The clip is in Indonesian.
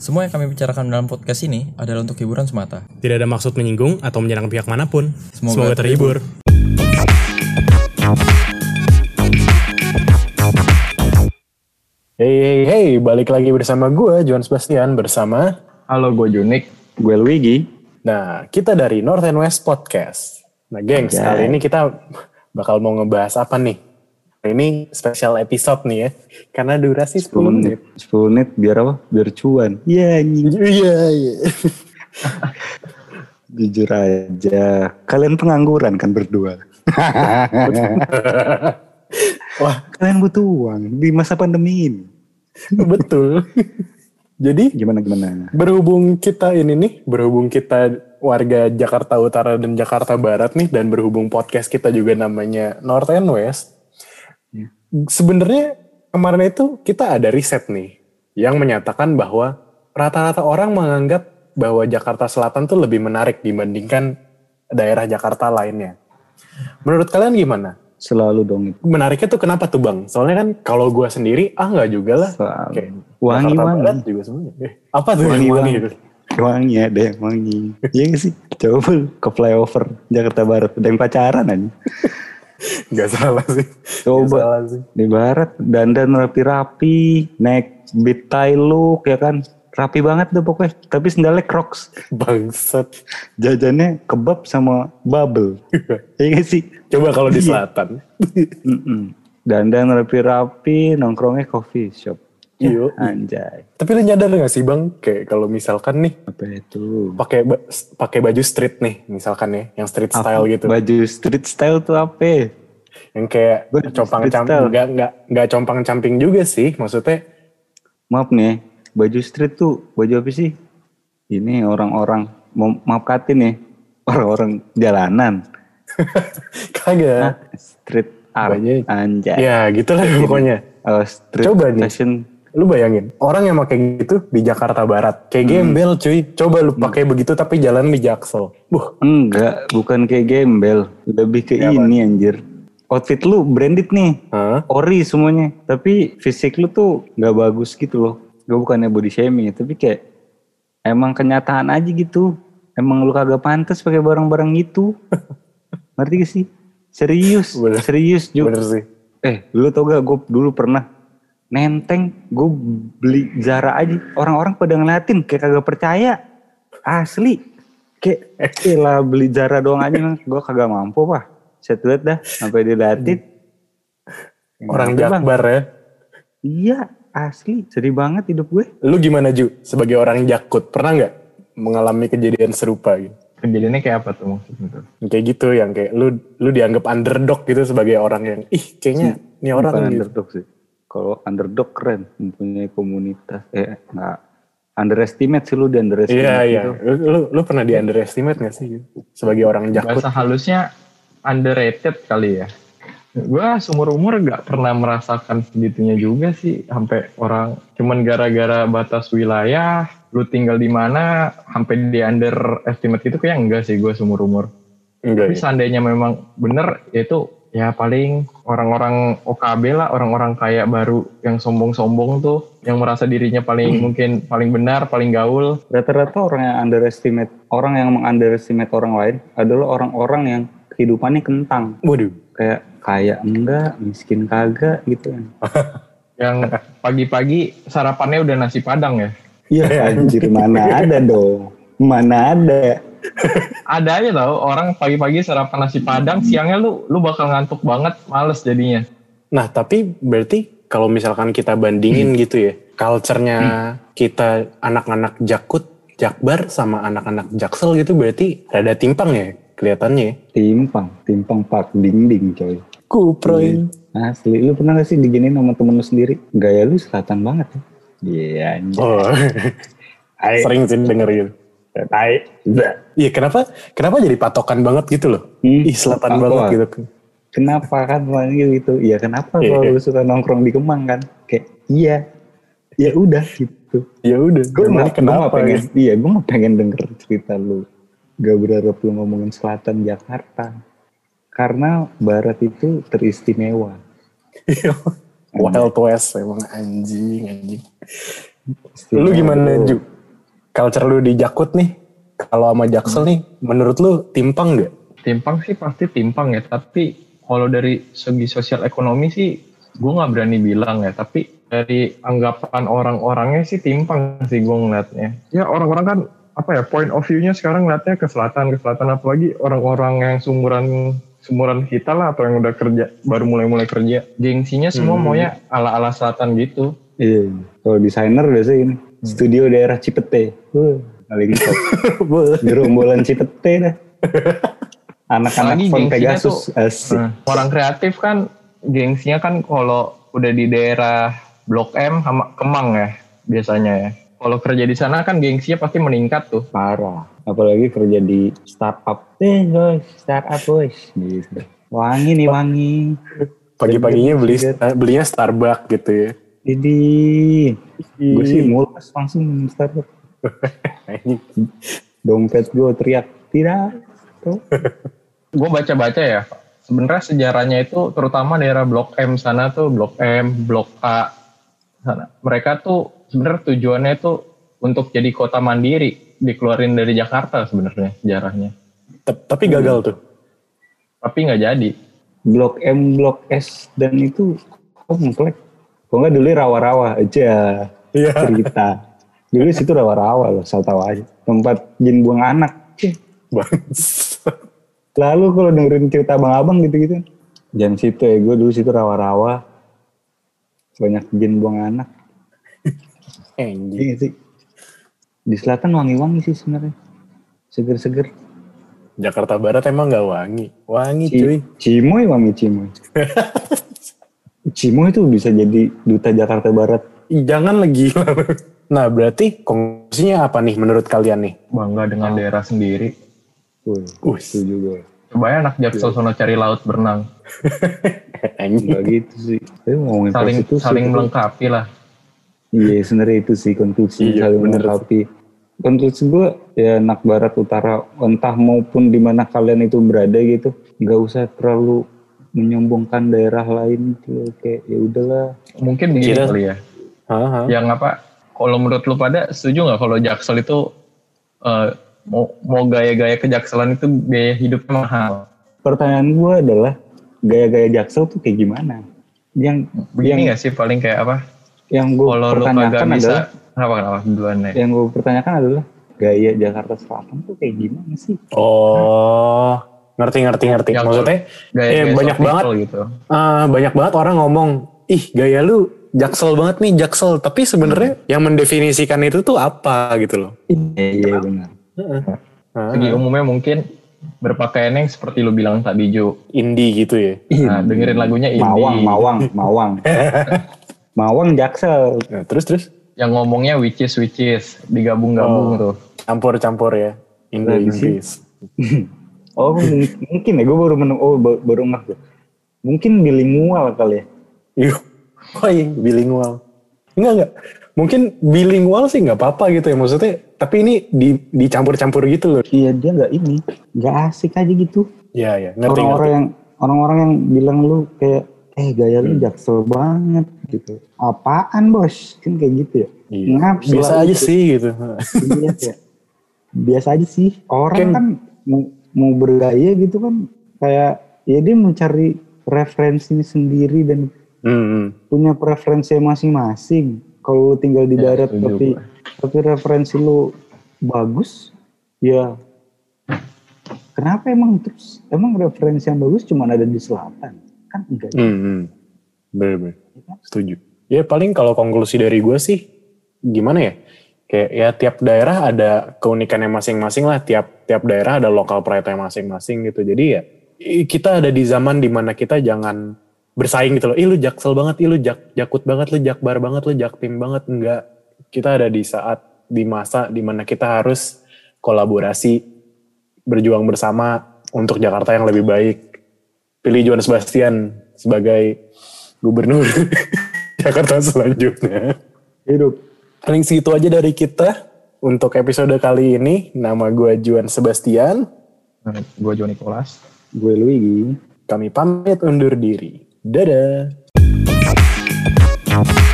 Semua yang kami bicarakan dalam podcast ini adalah untuk hiburan semata. Tidak ada maksud menyinggung atau menyerang pihak manapun. Semoga Semoga, terhibur. Hey, hey, hey, balik lagi bersama gue, Johan Sebastian, bersama... Halo, gue Junik. Gue Luigi. Nah, kita dari North and West Podcast. Nah, gengs, Anjay. kali ini kita bakal mau ngebahas apa nih? Ini spesial episode nih ya, karena durasi 10 menit. 10 menit biar apa? Biar cuan. Iya anjing. Iya, iya. Jujur aja. Kalian pengangguran kan berdua. Wah, Kalian butuh uang di masa pandemi ini. betul. Jadi, Gimana gimana? berhubung kita ini nih, berhubung kita warga Jakarta Utara dan Jakarta Barat nih, dan berhubung podcast kita juga namanya North and West, sebenarnya kemarin itu kita ada riset nih, yang menyatakan bahwa rata-rata orang menganggap bahwa Jakarta Selatan tuh lebih menarik dibandingkan daerah Jakarta lainnya. Menurut kalian gimana? Selalu dong itu. Menariknya tuh kenapa tuh Bang? Soalnya kan kalau gua sendiri, ah nggak juga lah. Selalu. Kayak Wangi Jakarta wangi. Barat juga semuanya. Eh, apa tuh yang Wangi-wangi. wangi gitu? itu? Wangi ada yang wangi. Iya nggak sih? Coba lu ke flyover Jakarta Barat. Ada yang pacaran aja. Gak salah sih. Coba. Gak salah sih. Di barat dandan rapi-rapi, naik beat tie look ya kan. Rapi banget tuh pokoknya. Tapi sendalnya Crocs. Bangsat. jajannya kebab sama bubble. Iya gak sih? Coba kalau di Iya. selatan. Mm-mm. Dandan rapi-rapi, nongkrongnya coffee shop. Ya, Iya. Anjay, Tapi lu nyadar gak sih bang, kayak kalau misalkan nih apa itu? pakai ba- pakai baju street nih, misalkan ya, yang street style Apa- gitu, Baju street style tuh apa? yang kayak Baju compang street camping, style. nggak nggak nggak compang camping juga sih, maksudnya Maaf nih, ya. baju street tuh baju apa sih? Ini orang-orang, mo- maaf katin ya, orang-orang jalanan. kagak. Street art, Baju- anjay. Ya gitulah pokoknya. Eh, street Coba nih. fashion. Lu bayangin, orang yang pakai gitu di Jakarta Barat, kayak Hmm. gembel cuy. Coba lu pakai begitu tapi jalan di Jaksel. Buh, Enggak, bukan kayak gembel. Lebih ke Ya, ini anjir. Outfit lu branded nih. Hah? ori semuanya tapi fisik lu tuh nggak bagus gitu loh gue bukannya body shaming ya, tapi kayak emang kenyataan aja gitu emang lu kagak pantas pakai barang-barang gitu ngerti gak sih serius Bener. serius juga bener sih. eh lu tau gak gue dulu pernah nenteng gue beli Zara aja orang-orang pada ngeliatin kayak kagak percaya asli kayak eh lah beli Zara doang aja gue kagak mampu pak saya lihat dah sampai diliatin Orang Gitu, Bang. Jakbar ya. Iya, asli. Sedih banget hidup gue. Lu gimana Ju? Sebagai orang jakut, pernah nggak mengalami kejadian serupa gitu? Kejadiannya kayak apa tuh maksudnya tuh? Yang Kayak gitu yang kayak lu lu dianggap underdog gitu sebagai orang yang ih kayaknya Hmm, ini orang Bukan gitu. underdog sih. Kalau underdog keren, mempunyai komunitas. Eh, nggak. Underestimate sih lu di underestimate. Iya iya. gitu. Lu, lu lu pernah di underestimate gak sih Ju? sebagai orang jakut? Bahasa halusnya underrated kali ya. Gue seumur umur gak pernah merasakan segitunya juga sih sampai orang cuman gara-gara batas wilayah, lu tinggal di mana, sampai di underestimate gitu kayak enggak sih gue seumur umur. Tapi Enggak. ya? seandainya memang bener ya itu ya paling orang-orang OKB lah, orang-orang kaya baru yang sombong-sombong tuh, yang merasa dirinya paling mungkin paling benar, paling gaul. Rata-rata orang yang underestimate, orang yang mengunderestimate orang lain adalah orang-orang yang kehidupannya kentang. Waduh. Kayak kaya enggak, miskin kagak gitu kan. Yang pagi-pagi sarapannya udah nasi padang ya. Iya anjir, mana ada dong. Mana ada. Ada aja tau orang pagi-pagi sarapan nasi padang, siangnya lu lu bakal ngantuk banget, males jadinya. Nah tapi berarti kalau misalkan kita Hmm. bandingin gitu ya, culture-nya kita anak-anak jakut, jakbar sama anak-anak jaksel gitu berarti rada timpang ya kelihatannya. ya? Timpang, timpang pak dinding coy. Kuproy. Asli, lu pernah gak sih diginiin sama temen lu sendiri? Gaya lu selatan banget ya. Iya, anjir. Oh, sering sih denger gitu. Tai. Iya kenapa kenapa jadi patokan banget gitu loh? Hmm. Ih selatan Apa? banget gitu. Kenapa kan soalnya gitu? Iya, kenapa kalau Iya. lu suka nongkrong di Kemang kan? Kayak, iya. Ya udah gitu. Ya udah. Gue emang gak, gua nggak ya? gitu? pengen, iya, gue gak pengen denger cerita lu. Gak berharap lu ngomongin selatan Jakarta. Karena barat itu teristimewa. ya? Wild West emang anjing anjing. Istimewa Iya, Lu gimana tuh. Ju? culture lu di Jakut nih, kalau sama Jaksel nih, menurut lu timpang nggak? timpang sih pasti timpang ya tapi kalau dari segi sosial ekonomi sih gue nggak berani bilang ya tapi dari anggapan orang-orangnya sih timpang sih gue ngeliatnya ya orang-orang kan apa ya point of view-nya sekarang ngeliatnya ke selatan ke selatan apalagi orang-orang yang sumuran sumuran kita lah atau yang udah kerja baru mulai-mulai kerja gengsinya semua Hmm. maunya ala-ala selatan gitu Iya. Kalau desainer biasanya ini Hmm. studio daerah Cipete. Wah, paling top. Gerombolan Cipete dah. Anak-anak Apalagi Font gengsinya Pegasus tuh- asik. Hmm. Nah, orang kreatif kan gengsinya kan kalau udah di daerah Blok M sama Kemang ya biasanya ya. Kalau kerja di sana kan gengsinya pasti meningkat tuh. parah. Apalagi kerja di startup. Eh, guys, startup, guys. Gitu. Wangi nih wangi. Pagi-paginya beli belinya Starbucks gitu ya. Jadi, gue sih mulus langsung startup. Dompet gue teriak, tidak. Tuh. Gue baca-baca ya. Sebenarnya sejarahnya itu terutama daerah Blok M sana tuh Blok M, Blok A sana. Mereka tuh sebenarnya tujuannya itu untuk jadi kota mandiri dikeluarin dari Jakarta sebenarnya sejarahnya. Tep- Tapi gagal tuh. Tapi nggak jadi. Blok M, Blok S, dan itu komplek. Kok nggak dulu rawa-rawa aja Iya. cerita. dulu situ rawa-rawa loh, saya tahu aja. Tempat jin buang anak. Cih, Bangsa. Lalu kalau dengerin cerita abang-abang gitu-gitu. Jam situ ya, gue dulu situ rawa-rawa. Banyak jin buang anak. Anjing. Iya nggak sih. Di selatan wangi-wangi sih sebenarnya. Seger-seger. Jakarta Barat emang nggak wangi. Wangi Ci- cuy. Cimoy wangi Cimoy. Cimoy itu bisa jadi duta Jakarta Barat. Jangan lagi. nah berarti konklusinya apa nih menurut kalian nih? Bangga dengan daerah sendiri. Wih, Wih. setuju gue. Coba ya anak Jaksel sono cari laut berenang. Anjing. Gak gitu sih. Tapi ngomongin saling prostitusi. saling tuh. melengkapi lah. Iya sebenarnya itu sih konklusi Iya, saling bener. melengkapi. Konklusi gue ya anak barat utara entah maupun di mana kalian itu berada gitu nggak usah terlalu menyombongkan daerah lain gitu loh. kayak ya udahlah Mungkin begini Iya. Kira- kali ya. Haha. Yang apa? Kalau menurut lu pada setuju nggak kalau jaksel itu eh, mau mau gaya-gaya kejakselan itu biaya hidupnya mahal. pertanyaan gue adalah gaya-gaya jaksel tuh kayak gimana yang yang Begini nggak sih paling kayak apa? yang gue Kalau lu kagak pertanyakan bisa adalah Iya, apa kenapa duluan ya? yang gue pertanyakan adalah gaya Jakarta Selatan tuh kayak gimana sih Oh, ngerti ngerti ngerti. Yang- Maksudnya Gaya, eh, banyak banget gitu. eh, banyak banget orang ngomong, "Ih, gaya lu jaksel banget nih, jaksel." Tapi sebenarnya yang mendefinisikan itu tuh apa gitu loh. iya benar Ah. Segi umumnya mungkin berpakaian yang seperti lu bilang tadi Jo. Indie gitu ya. Nah, dengerin lagunya Iya. ini. Mawang, Mawang, Mawang. Mawang Jaksel. Nah, terus terus Yang ngomongnya which is which is Oh. digabung-gabung tuh. campur-campur ya. Indie Nah, di sini- indies. Oh mung- mungkin ya, gue baru menem, oh ba- baru ngeh gue. Mungkin bilingual kali ya. Yuh, oh iya, bilingual. Enggak, enggak. Mungkin bilingual sih nggak apa-apa gitu ya. Maksudnya, tapi ini di, dicampur-campur gitu loh. Iya dia nggak ini, nggak asik aja gitu. Iya, iya. Ngerti, Orang-orang ngerti. yang orang-orang yang bilang lu kayak eh gaya lu Jaksel banget gitu. Apaan bos? Kan kayak gitu ya. Iya. Ngap, Biasa selalu aja gitu. sih gitu. Iya, kayak, biasa aja sih. Orang Mungkin- kan mau, mau bergaya gitu kan kayak ya dia mencari referensi sendiri dan Hmm, hmm. punya preferensi masing-masing. Kalau lu tinggal di Ya, barat setuju tapi gue. tapi referensi lu bagus, ya kenapa emang terus emang referensi yang bagus cuma ada di selatan? Kan enggak. Hmm, hmm. Bener, bener. Setuju. Ya paling kalau konklusi dari gue sih gimana ya? Kayak ya tiap daerah ada keunikannya masing-masing lah. Tiap tiap daerah ada lokal pride-nya masing-masing gitu. Jadi ya i- kita ada di zaman dimana kita jangan bersaing gitu loh. Ih lu jaksel banget, ih lu jak, jakut banget, lu jakbar banget, lu jaktim banget. Enggak. Kita ada di saat, di masa dimana kita harus kolaborasi, berjuang bersama untuk Jakarta yang lebih baik pilih Johan Sebastian sebagai gubernur Jakarta selanjutnya. Hidup. Paling segitu aja dari kita untuk episode kali ini. Nama gue Juan Sebastian. Nah, gue Joni Nicholas. Gue Luigi. Kami pamit undur diri. Dadah.